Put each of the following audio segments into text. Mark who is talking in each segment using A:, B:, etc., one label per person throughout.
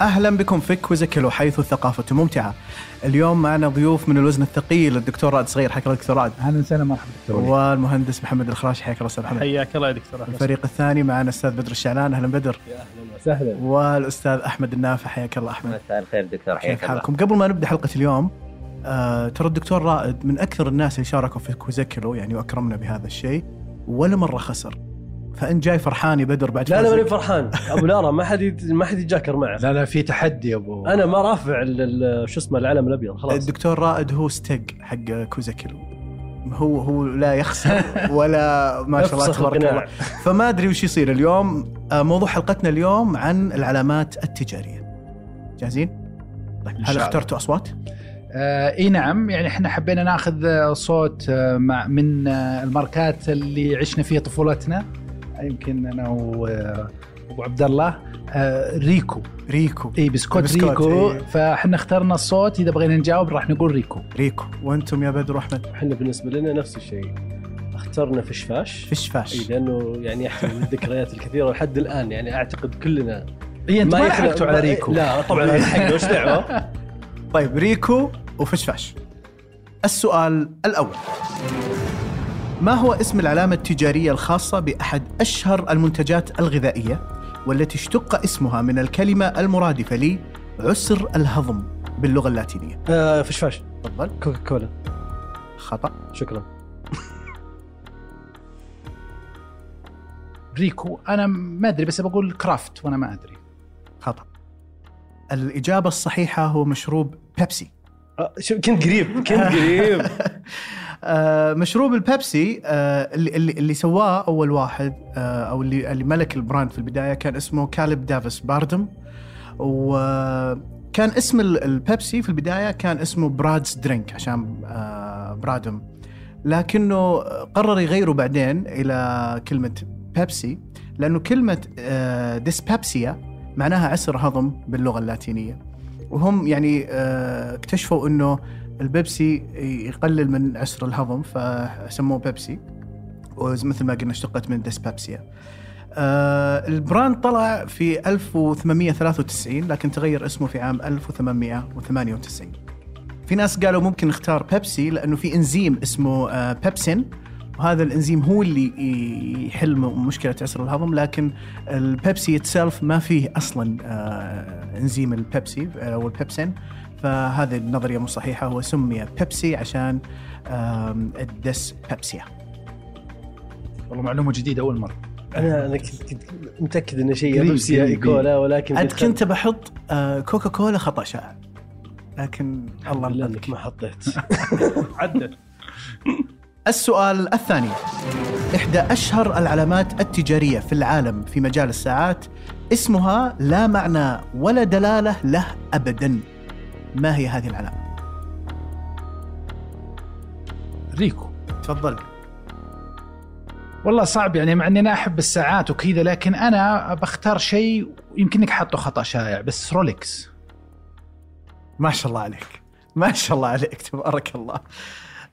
A: اهلا بكم في كويزيكلو حيث الثقافه ممتعه. اليوم معنا ضيوف من الوزن الثقيل الدكتور رائد صغير حياك الله دكتور رائد
B: اهلا وسهلا مرحبا دكتور وليد.
A: والمهندس محمد الخراش حياك الله استاذ محمد.
C: حياك الله يا دكتور أحمد.
A: الفريق الثاني معنا الاستاذ بدر الشعلان اهلا بدر
B: سهلا
A: والاستاذ احمد النافع حياك الله احمد.
D: مساء الخير دكتور
A: كيف
D: حياك الله
A: حالكم؟ قبل ما نبدا حلقه اليوم آه ترى الدكتور رائد من اكثر الناس اللي شاركوا في كويزيكلو يعني واكرمنا بهذا الشيء ولا مره خسر. فانت جاي فرحان يا بدر بعد
C: لا انا
A: فوزك.
C: ماني فرحان ابو لارا ما حد يت- ما حد يتجاكر معه
B: لا لا في تحدي يا ابو
C: انا ما رافع ال- ال- شو اسمه العلم الابيض خلاص
A: الدكتور رائد هو ستيج حق كوزاكيلو هو هو لا يخسر ولا ما شاء الله
C: افسخ
A: تبارك
C: القناع.
A: الله فما ادري وش يصير اليوم آه، موضوع حلقتنا اليوم عن العلامات التجاريه جاهزين؟ طيب
B: إن شاء
A: هل
B: الله.
A: اخترتوا اصوات؟
B: آه اي نعم يعني احنا حبينا ناخذ آه، صوت آه مع من آه الماركات اللي عشنا فيها طفولتنا يمكن انا و- آه، ابو عبد الله آه ريكو
A: ريكو
B: اي بسكوت,
A: بسكوت،
B: ريكو
A: إي.
B: فاحنا اخترنا الصوت اذا بغينا نجاوب راح نقول ريكو
A: ريكو وانتم يا بدر واحمد
C: احنا بالنسبه لنا نفس الشيء اخترنا فشفاش
A: فش
C: إي،
A: فاش
C: لانه يعني يحتوي الذكريات الكثيره لحد الان يعني اعتقد كلنا
B: اي انت ما
C: يخلق-
B: لحقتوا على
C: ما-
B: ريكو
C: لا طبعا هذا حقه وش دعوه
A: طيب ريكو وفش فاش السؤال الاول ما هو اسم العلامة التجارية الخاصة بأحد أشهر المنتجات الغذائية والتي اشتق اسمها من الكلمة المرادفة لعسر الهضم باللغة اللاتينية؟
C: آه، فشفاش
A: تفضل
C: كوكا كولا
A: خطأ
C: شكرا
B: ريكو انا ما ادري بس بقول كرافت وانا ما ادري
A: خطأ الإجابة الصحيحة هو مشروب بيبسي
C: آه، شو كنت قريب كنت قريب
A: آه، مشروب البيبسي آه، اللي اللي اللي سواه اول واحد آه، او اللي اللي ملك البراند في البدايه كان اسمه كالب دافيس باردم وكان اسم ال- البيبسي في البدايه كان اسمه برادز درينك عشان آه، برادم لكنه قرر يغيره بعدين الى كلمه بيبسي لانه كلمه آه، ديسبيبسيا معناها عسر هضم باللغه اللاتينيه وهم يعني آه، اكتشفوا انه البيبسي يقلل من عسر الهضم فسموه بيبسي ومثل ما قلنا اشتقت من ديسبابسيا آه البراند طلع في 1893 لكن تغير اسمه في عام 1898 في ناس قالوا ممكن نختار بيبسي لانه في انزيم اسمه آه بيبسين وهذا الانزيم هو اللي ي- يحل م- مشكله عسر الهضم لكن البيبسي اتسلف ما فيه اصلا آه انزيم البيبسي آه، او البيبسين فهذه النظريه مو صحيحه هو سمي بيبسي عشان آم، الدس بيبسيا
B: والله معلومه جديده اول مره
C: انا انا كنت كنت متاكد انه شيء يا
B: قريب،
C: بيبسي يا
B: قريب.
C: كولا ولكن
A: انت كنت بحط آه، كوكا كولا خطا شائع لكن الله
C: والله
A: انقذك
C: انك ما حطيت
B: عدل
A: السؤال الثاني إحدى أشهر العلامات التجارية في العالم في مجال الساعات اسمها لا معنى ولا دلالة له أبدا ما هي هذه العلامة؟
B: ريكو
A: تفضل
B: والله صعب يعني مع اني انا احب الساعات وكذا لكن انا بختار شيء يمكنك حاطه خطا شائع بس رولكس
A: ما شاء الله عليك ما شاء الله عليك تبارك الله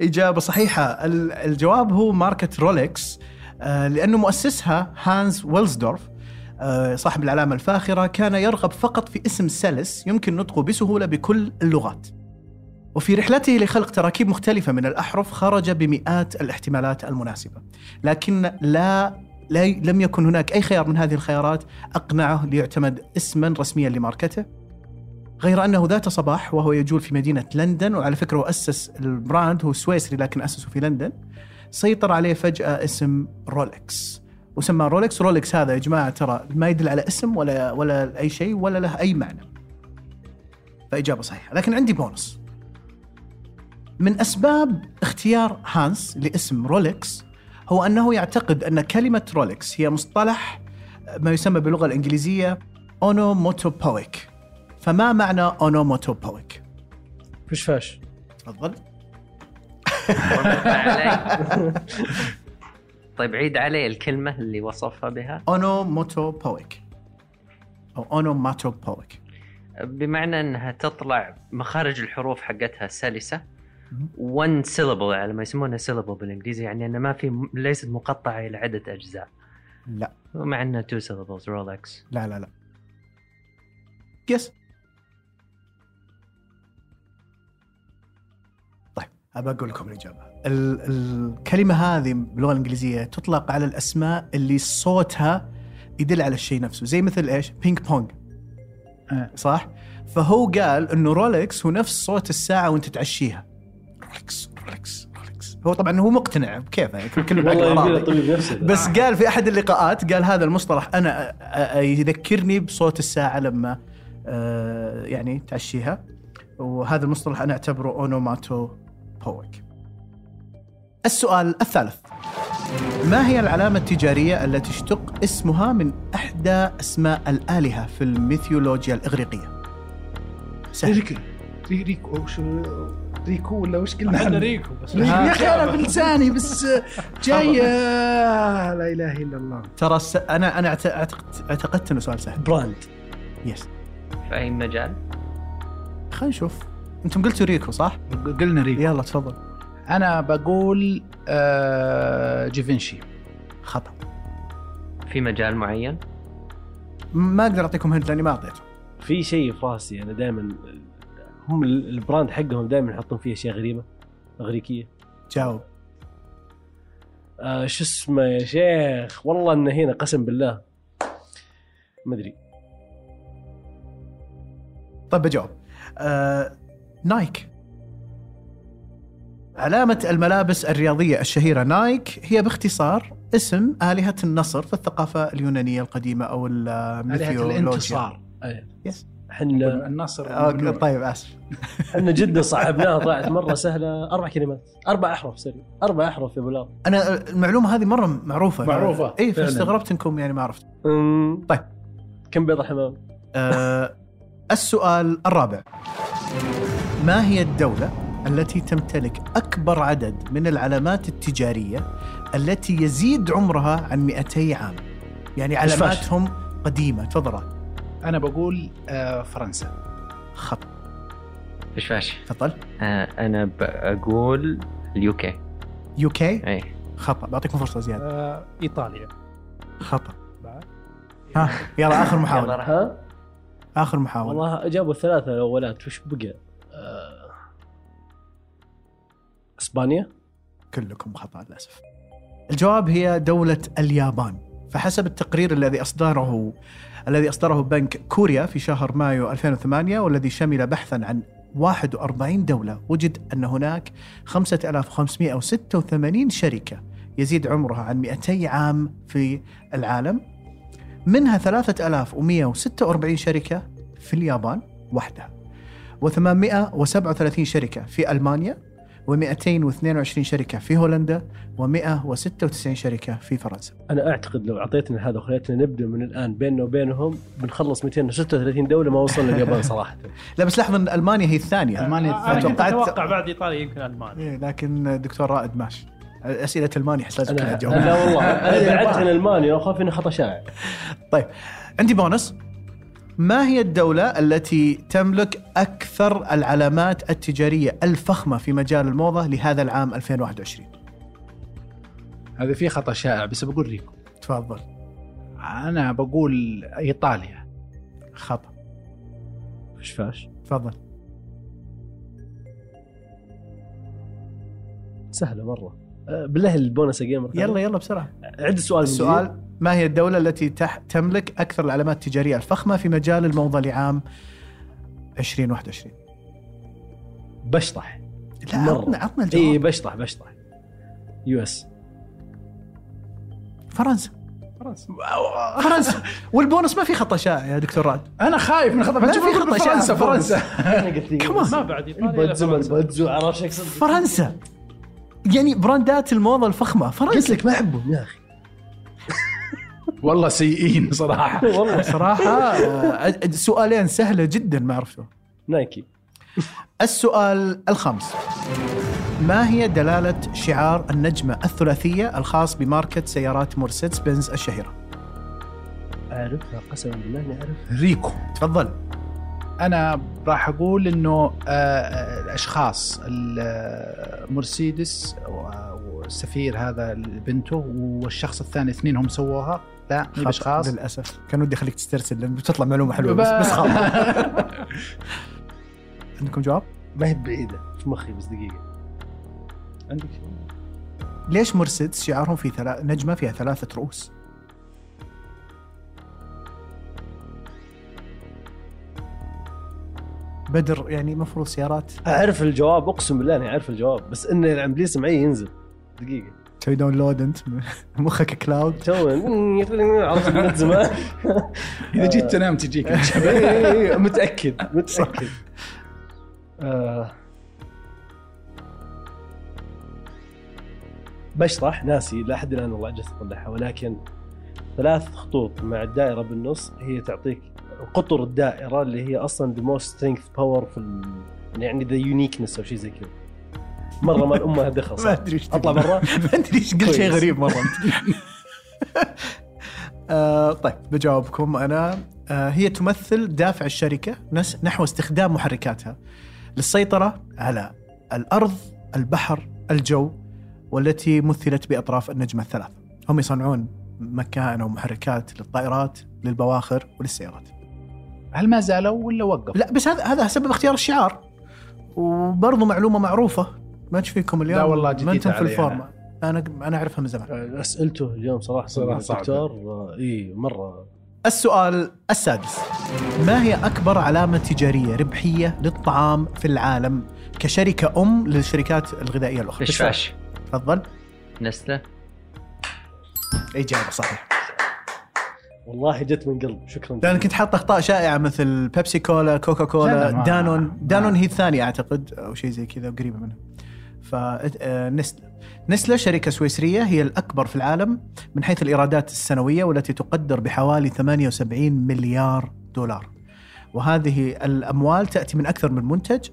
A: إجابة صحيحة ال- الجواب هو ماركة رولكس آه، لأنه مؤسسها هانز ويلزدورف آه، صاحب العلامة الفاخرة كان يرغب فقط في اسم سلس يمكن نطقه بسهولة بكل اللغات وفي رحلته لخلق تراكيب مختلفة من الأحرف خرج بمئات الاحتمالات المناسبة لكن لا لا لم يكن هناك أي خيار من هذه الخيارات أقنعه ليعتمد اسما رسميا لماركته غير أنه ذات صباح وهو يجول في مدينة لندن وعلى فكرة هو أسس البراند هو سويسري لكن أسسه في لندن سيطر عليه فجاه اسم رولكس وسماه رولكس رولكس هذا يا جماعه ترى ما يدل على اسم ولا ولا اي شيء ولا له اي معنى فاجابه صحيحه لكن عندي بونص من اسباب اختيار هانس لاسم رولكس هو انه يعتقد ان كلمه رولكس هي مصطلح ما يسمى باللغه الانجليزيه اونوموتوبويك فما معنى اونوموتوبويك؟
C: فش فاش
A: تفضل
D: علي. طيب عيد علي الكلمة اللي وصفها بها
A: اونوموتوبويك او اونوماتوبويك
D: بمعنى انها تطلع مخارج الحروف حقتها سلسة one syllable على ما يسمونها syllable بالانجليزي يعني انها ما في ليست مقطعة الى عدة اجزاء
A: لا
D: مع انها two syllables رولكس
A: لا لا لا يس طيب ابى اقول لكم الاجابه ال- الكلمه هذه باللغه الانجليزيه تطلق على الاسماء اللي صوتها يدل على الشيء نفسه زي مثل ايش بينج بونج
B: آه.
A: صح فهو قال انه رولكس هو نفس صوت الساعه وانت تعشيها رولكس رولكس رولكس هو طبعا هو مقتنع بكيفه يعني كله بعقله
C: والله يبي
A: راضي.
C: له طبيب نفسي ذا.
A: بس قال في احد اللقاءات قال هذا المصطلح انا أ- أ- يذكرني بصوت الساعه لما آه، يعني تعشيها وهذا المصطلح انا اعتبره اونوماتو بويك. السؤال الثالث ما هي العلامة التجارية التي اشتق اسمها من إحدى أسماء الآلهة في الميثولوجيا الإغريقية؟ سهل
B: ريكو ريكو أو شو ريكو ولا وش قلنا
C: عندنا
B: عنه؟
C: ريكو بس
B: يا اخي انا بلساني بس جاي آه، لا اله الا الله
A: ترى الس- أنا أنا أعت- أعتقد اعتقدت إنه سؤال سهل
C: براند
A: يس
D: في اي مجال
A: خلينا نشوف أنتم قلتوا ريكو صح؟
B: قلنا ريكو
A: يلا تفضل
B: انا بقول آه، جيفنشي
A: خطأ
D: في مجال معين
A: ما اقدر اعطيكم هند لاني ما اعطيته
C: في شيء في راسي انا دائما هم ال- البراند حقهم دائما يحطون فيه اشياء غريبه اغريقيه
A: جاوب
C: آه شو اسمه يا شيخ والله انه هنا قسم بالله ما ادري
A: طيب بجاوب آه، نايك علامة الملابس الرياضية الشهيرة نايك هي باختصار اسم آلهة النصر في الثقافة اليونانية القديمة أو آه،
B: آلهة
A: الميثولوجيا
B: الانتصار
C: احنا
B: النصر
A: أوكي،
B: والنور.
A: طيب آسف
C: احنا جدا صعبناها طلعت مره سهله اربع كلمات اربع احرف سوري اربع احرف يا بلال
A: أنا المعلومة هذه مرة معروفة
B: معروفة،
A: إي
B: فعلاً.
A: فاستغربت إنكم يعني ما عرفت
C: أمم.
A: طيب.
C: كم بيضة حمام؟
A: آه، السؤال الرابع ما هي الدولة التي تمتلك أكبر عدد من العلامات التجارية التي يزيد عمرها عن 200 عام يعني
C: فاش.
A: علاماتهم قديمة تفضل راد.
B: انا بقول آه، فرنسا
A: خط
D: فش فاش
A: تفضل
D: آه انا بقول اليوكي
A: يو كي
D: اي
A: خطأ بعطيكم فرصة زيادة
C: آه، ايطاليا
A: خطأ ها يلا آخر
D: يلا
A: محاولة
D: راح.
C: ها؟
A: آخر محاولة
C: والله جابوا الثلاثة الاولات وش بقى؟ آه، اسبانيا؟
A: كلكم خطأ للأسف الجواب هي دولة اليابان فحسب التقرير الذي أصدره الذي أصدره بنك كوريا في شهر مايو 2008 والذي شمل بحثا عن 41 دولة وجد أن هناك 5586 شركة يزيد عمرها عن 200 عام في العالم منها 3146 شركة في اليابان وحدها و837 شركة في ألمانيا و222 شركة في هولندا و196 شركة في فرنسا
C: انا اعتقد لو اعطيتنا هذا وخليتنا نبدا من الان بيننا وبينهم بنخلص 236 دولة ما وصلنا اليابان صراحة
A: لا بس لحظة إن ألمانيا هي الثانية
B: ألمانيا
A: أنا
B: الثانية
A: كنت
B: توقعت
A: أتوقعت-
C: اتوقع بعد ايطاليا يمكن المانيا
A: إيه، لكن الدكتور رائد ماش أسئلة ألمانيا أحس لازم كلها
C: انا
A: تجاوبها.
C: لا والله انا بعدت عن المانيا وخاف اني خطا شائع
A: طيب عندي بونص ما هي الدولة التي تملك أكثر العلامات التجارية الفخمة في مجال الموضة لهذا العام 2021
B: هذا في خطا شائع بس بقول ريكو
A: تفضل
B: انا بقول ايطاليا
A: خطأ
C: وش فاش؟
A: تفضل
C: سهلة مرة آه، بالله البونس يا جيمر
A: يلا يلا بسرعة
C: عد السؤال من جديد.
A: السؤال ما هي الدولة التي تح تملك أكثر العلامات التجارية الفخمة في مجال الموضة لعام 2021
C: بشطح
A: لا
C: مرة.
A: عطنا عطنا
C: اي إيه.
A: الجواب
C: بشطح بشطح يو اس
A: فرنسا فرنسا والبونص ما في خطه شائعه يا دكتور رعد
B: انا خايف من خطه
A: لا
B: بتشوف
A: في
B: يقول
A: خطة
B: فرنسا
A: شائعة.
B: فرنسا
A: كمان
E: ما بعد ايطاليا إلا
C: البتزو ما
E: فرنسا.
C: البتزو عرفت شو اقصد؟
A: فرنسا يعني براندات الموضه الفخمه فرنسا
C: قلت لك ما احبهم يا اخي
B: والله سيئين صراحه
C: والله
A: صراحه آه، سؤالين سهله جدا ما عرفته
C: نايكي
A: السؤال الخامس ما هي دلالة شعار النجمة الثلاثية الخاص بماركة سيارات مرسيدس بنز الشهيرة؟
C: اعرفها قسما بالله اني اعرفها
B: ريكو
A: تفضل
B: انا راح اقول انه آه، آه، الاشخاص ال- آه، مرسيدس و- والسفير هذا بنته والشخص الثاني اثنين هم سووها لا مين
A: خاص
B: الاشخاص
A: للأسف كان ودي أخليك تسترسل لأن بتطلع معلومة حلوة بس, بس خاطر عندكم جواب؟
C: ما هي بعيده في مخي بس دقيقه عندك شيء؟
A: ليش مرسيدس شعارهم في ثلا... نجمة فيها ثلاثة رؤوس؟ بدر يعني مفروض سيارات
C: اعرف الجواب اقسم بالله اني اعرف الجواب بس ان الامبليس معي ينزل دقيقه
A: تسوي داونلود انت مخك كلاود
C: تو عرفت من زمان
B: اذا جيت تنام تجيك
A: إيه،
C: إي، إي، إي، متاكد متاكد آه. بشرح ناسي لحد الان والله عجزت اطلعها ولكن ثلاث خطوط مع الدائره بالنص هي تعطيك قطر الدائره اللي هي اصلا the most strength power في ال... يعني ذا يونيكنس او شيء زي كذا مره ما الامها دخل
A: ما
C: صح.
A: ادري ايش
C: اطلع
A: تقول.
C: برا
A: ما ادري ايش قلت شيء
C: كويس.
A: غريب مره انت آه، طيب بجاوبكم انا آه، هي تمثل دافع الشركه نس- نحو استخدام محركاتها للسيطره على الارض، البحر، الجو والتي مثلت باطراف النجمه الثلاث. هم يصنعون مكائن ومحركات للطائرات، للبواخر وللسيارات.
B: هل ما زالوا ولا وقف؟
A: لا بس هذا هذا سبب اختيار الشعار. وبرضه معلومه معروفه ما ايش فيكم اليوم
B: لا والله
A: ما انتم
B: جديدة
A: في
B: علي
A: الفورمه. انا انا اعرفها من زمان.
C: اسئلته اليوم صراحه
B: صراحة
C: الدكتور آه، اي مره
A: السؤال السادس ما هي أكبر علامة تجارية ربحية للطعام في العالم كشركة أم للشركات الغذائية الأخرى
D: دشاش
A: تفضل
D: نسله
A: إجابة صحيحة
C: والله جت من قلب شكرا
A: لأن كنت حاط أخطاء شائعة مثل بيبسي كولا كوكا
B: لا،
A: كولا
B: لا، ما-
A: دانون
B: ما-
A: دانون هي الثانية أعتقد أو شيء زي كذا قريبة منها ف آه، نسلة نسلة شركة سويسرية هي الأكبر في العالم من حيث الإيرادات السنوية والتي تقدر بحوالي 78 مليار دولار وهذه الأموال تأتي من أكثر من منتج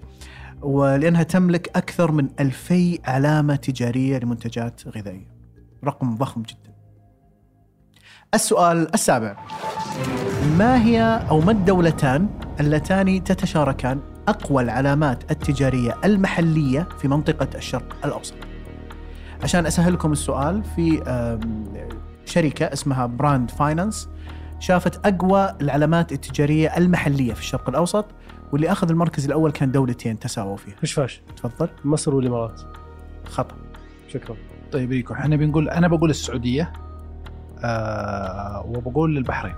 A: ولأنها تملك أكثر من 2000 علامة تجارية لمنتجات غذائية رقم ضخم جدا السؤال السابع ما هي أو ما الدولتان اللتان تتشاركان أقوى العلامات التجارية المحلية في منطقة الشرق الأوسط عشان أسهلكم السؤال في أم، شركة اسمها براند فاينانس شافت أقوى العلامات التجارية المحلية في الشرق الأوسط واللي أخذ المركز الأول كان دولتين تساووا فيها
C: دشاش
A: تفضل
C: مصر والامارات
A: خطأ
C: شكرا
B: طيب ريكو احنا بنقول انا بقول السعوديه آه وبقول البحرين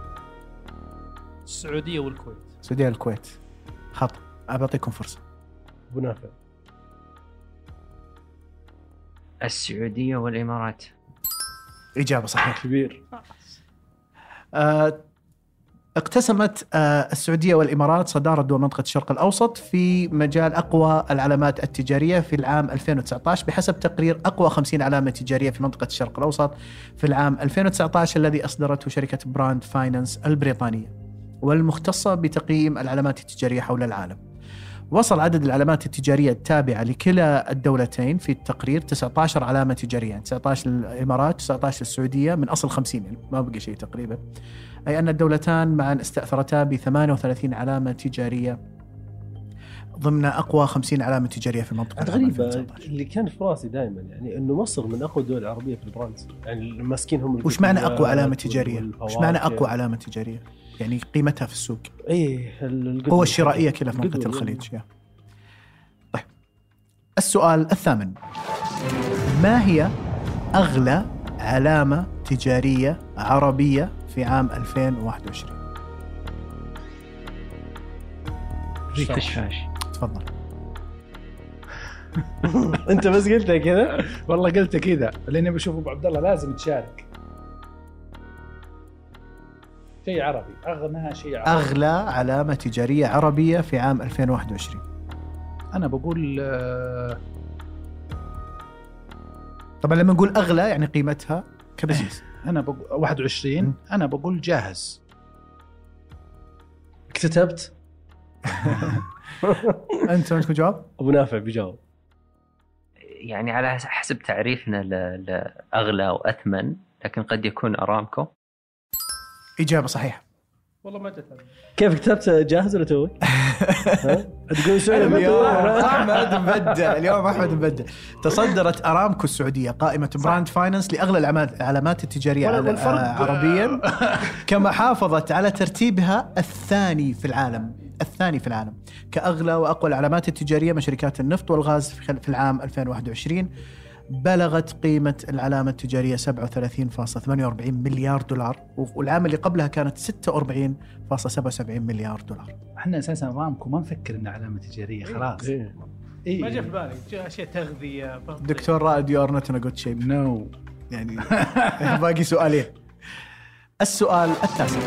E: السعوديه والكويت
A: السعودية الكويت خطأ أعطيكم فرصة
C: ابو نافع
D: السعوديه والامارات
A: إجابة صحيحة
C: كبير
A: آه، اقتسمت آه، السعوديه والامارات صداره دول منطقه الشرق الاوسط في مجال اقوى العلامات التجاريه في العام 2019 بحسب تقرير اقوى 50 علامه تجاريه في منطقه الشرق الاوسط في العام 2019 الذي اصدرته شركه براند فاينانس البريطانيه والمختصه بتقييم العلامات التجاريه حول العالم. وصل عدد العلامات التجاريه التابعه لكلا الدولتين في التقرير 19 علامه تجاريه، يعني 19 للامارات، 19 للسعوديه من اصل 50 يعني ما بقي شيء تقريبا. أي أن الدولتان معا استأثرتا ب 38 علامة تجارية ضمن أقوى 50 علامة تجارية في المنطقة عام
C: غريبة
A: 2019.
C: اللي كان في راسي دائما يعني انه مصر من اقوى الدول العربية في البراندز يعني ماسكين هم
A: وش معنى أقوى علامة
C: القطنيات
A: تجارية؟
C: والفواكه.
A: وش معنى أقوى علامة تجارية؟ يعني قيمتها في السوق
C: اي ال- القطن.
A: القوة الشرائية كلها في
C: القطن،
A: منطقة
C: يعني.
A: الخليج يا. طيب السؤال الثامن ما هي أغلى علامة تجارية عربية في عام 2021
D: دشاش
A: تفضل
C: انت بس قلتها كذا
B: والله قلت كذا لاني بشوف ابو عبد الله لازم تشارك شيء عربي اغنى شيء عربي
A: اغلى علامه تجاريه عربيه في عام 2021
B: انا بقول آه،
A: طبعا لما نقول اغلى يعني قيمتها كبزيز
B: انا بقول 21 انا بقول جاهز
C: اكتتبت
A: انت عندكم جواب؟
C: ابو نافع بيجاوب
D: يعني على حسب تعريفنا ل- لاغلى واثمن لكن قد يكون ارامكو
A: اجابه صحيحه
B: والله ما جت
C: كيف كتبت جاهز ولا توي؟ ها؟ تقول سوري ما
A: اليوم
C: توي.
A: احمد مبدع اليوم احمد مبدع تصدرت ارامكو السعوديه قائمه براند فاينانس لاغلى العما- العلامات التجاريه
B: ولا-
A: عل-
B: والفرق-
A: آه، عربيا كما حافظت على ترتيبها الثاني في العالم الثاني في العالم كاغلى واقوى العلامات التجاريه من شركات النفط والغاز في خل- في العام 2021 بلغت قيمة العلامة التجارية 37.48 مليار دولار والعام اللي قبلها كانت 46.77 مليار دولار
B: احنا اساسا رامكو ما نفكر انها علامه تجاريه خلاص
C: إيه.
B: إيه.
E: ما جاء في بالي جاء اشياء تغذيه بطيء.
A: دكتور رائد يو ار نوت ان جود شيب
B: نو
A: يعني باقي سؤالين السؤال التاسع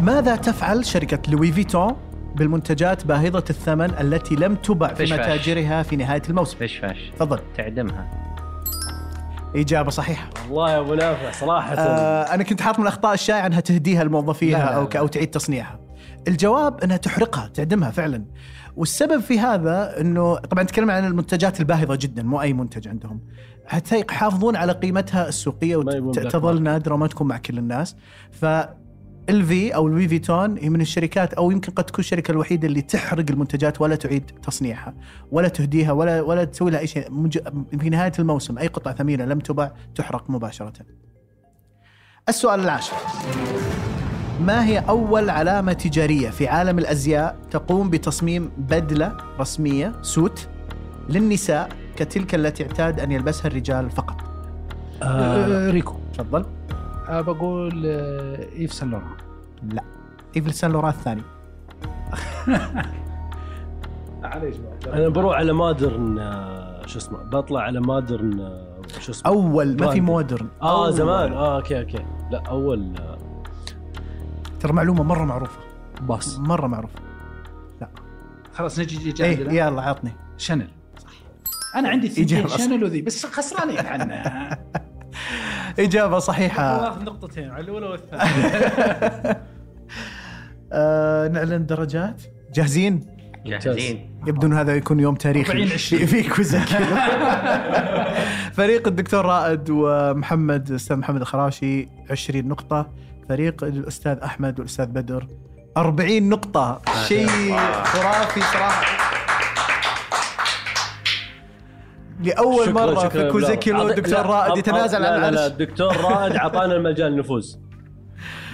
A: ماذا تفعل شركة لوي فيتون بالمنتجات باهظة الثمن التي لم تباع في
D: فش فاش.
A: متاجرها في نهاية الموسم
D: فش فش
A: تفضل
D: تعدمها
A: إجابة صحيحة
C: والله يا ابو نافع صراحه
A: آه أنا كنت حاط من الأخطاء الشائعة أنها تهديها لموظفيها
B: لا، لا،
A: أو ك- أو تعيد تصنيعها الجواب أنها تحرقها تعدمها فعلا والسبب في هذا أنه طبعا نتكلم عن المنتجات الباهظة جدا مو أي منتج عندهم حتى يحافظون على قيمتها السوقيه
C: ما يبون بلاك
A: وتظل
C: ماركت.
A: نادره وما تكون مع كل الناس ف الفي او لوي فيتون هي من الشركات او يمكن قد تكون الشركه الوحيده اللي تحرق المنتجات ولا تعيد تصنيعها ولا تهديها ولا ولا تسوي لها اي شيء مج- في نهايه الموسم اي قطعه ثمينه لم تباع تحرق مباشره. السؤال العاشر ما هي اول علامه تجاريه في عالم الازياء تقوم بتصميم بدله رسميه سوت للنساء كتلك التي اعتاد ان يلبسها الرجال فقط
C: آه،
B: ريكو
A: تفضل
B: آه، بقول آه، ايف سان لوران
A: ايفل سان لوران الثاني
B: معليش بقى.
C: انا بروح على مودرن آه، شو اسمه بطلع على مودرن آه، شو اسمه
A: اول ما في
C: براند.
A: مودرن
C: اه
A: أول.
C: زمان اه اوكي اوكي لا اول آه،
A: ترى معلومه مره معروفه
C: باص
A: مره معروفه
B: خلاص نجي نجي
A: ايه
B: عندنا
A: يلا عطني
B: شانل انا عندي ثنتين
A: إجابة صح.
B: شانل وذي بس خسرانين عنها
A: اجابه صحيحه
E: واخذ نقطتين على الاولى والثانيه
A: آه نعلن درجات جاهزين
D: جاهزين
A: يبدو ان هذا يكون يوم
E: 40
A: تاريخي
E: 20.
A: في كوزك فريق الدكتور رائد ومحمد استاذ محمد الخراشي 20 نقطه فريق الاستاذ احمد والاستاذ بدر 40 نقطه
C: آه،
A: شيء خرافي صراحه لاول
C: شكراً-
A: مره
C: شكراً
A: في
C: بالله.
A: كوزيكيلو
C: عط-
A: الدكتور
C: لا،
A: رائد
C: عط-
A: يتنازل
C: لا
A: عن
C: لا لا
A: العرش
C: الدكتور رائد اعطانا المجال نفوز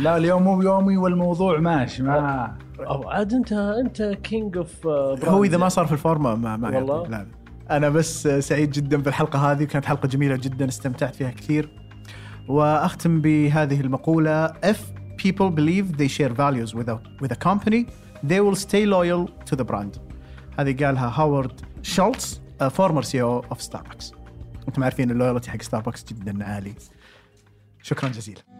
B: لا اليوم مو يومي والموضوع ماشي ما
C: او عاد انت انت كينج اوف
A: هو اذا ما صار في الفورمه ما ما
C: يعني. والله؟
A: يعطيك. لا لا. انا بس سعيد جدا بالحلقه هذه كانت حلقه جميله جدا استمتعت فيها كثير واختم بهذه المقوله if people believe they share values with a with a company they will stay loyal to the brand هذه قالها هاورد شولتز فورمر سي او اوف ستاربكس انتم عارفين اللويالتي حق ستاربكس جدا عالي شكرا جزيلا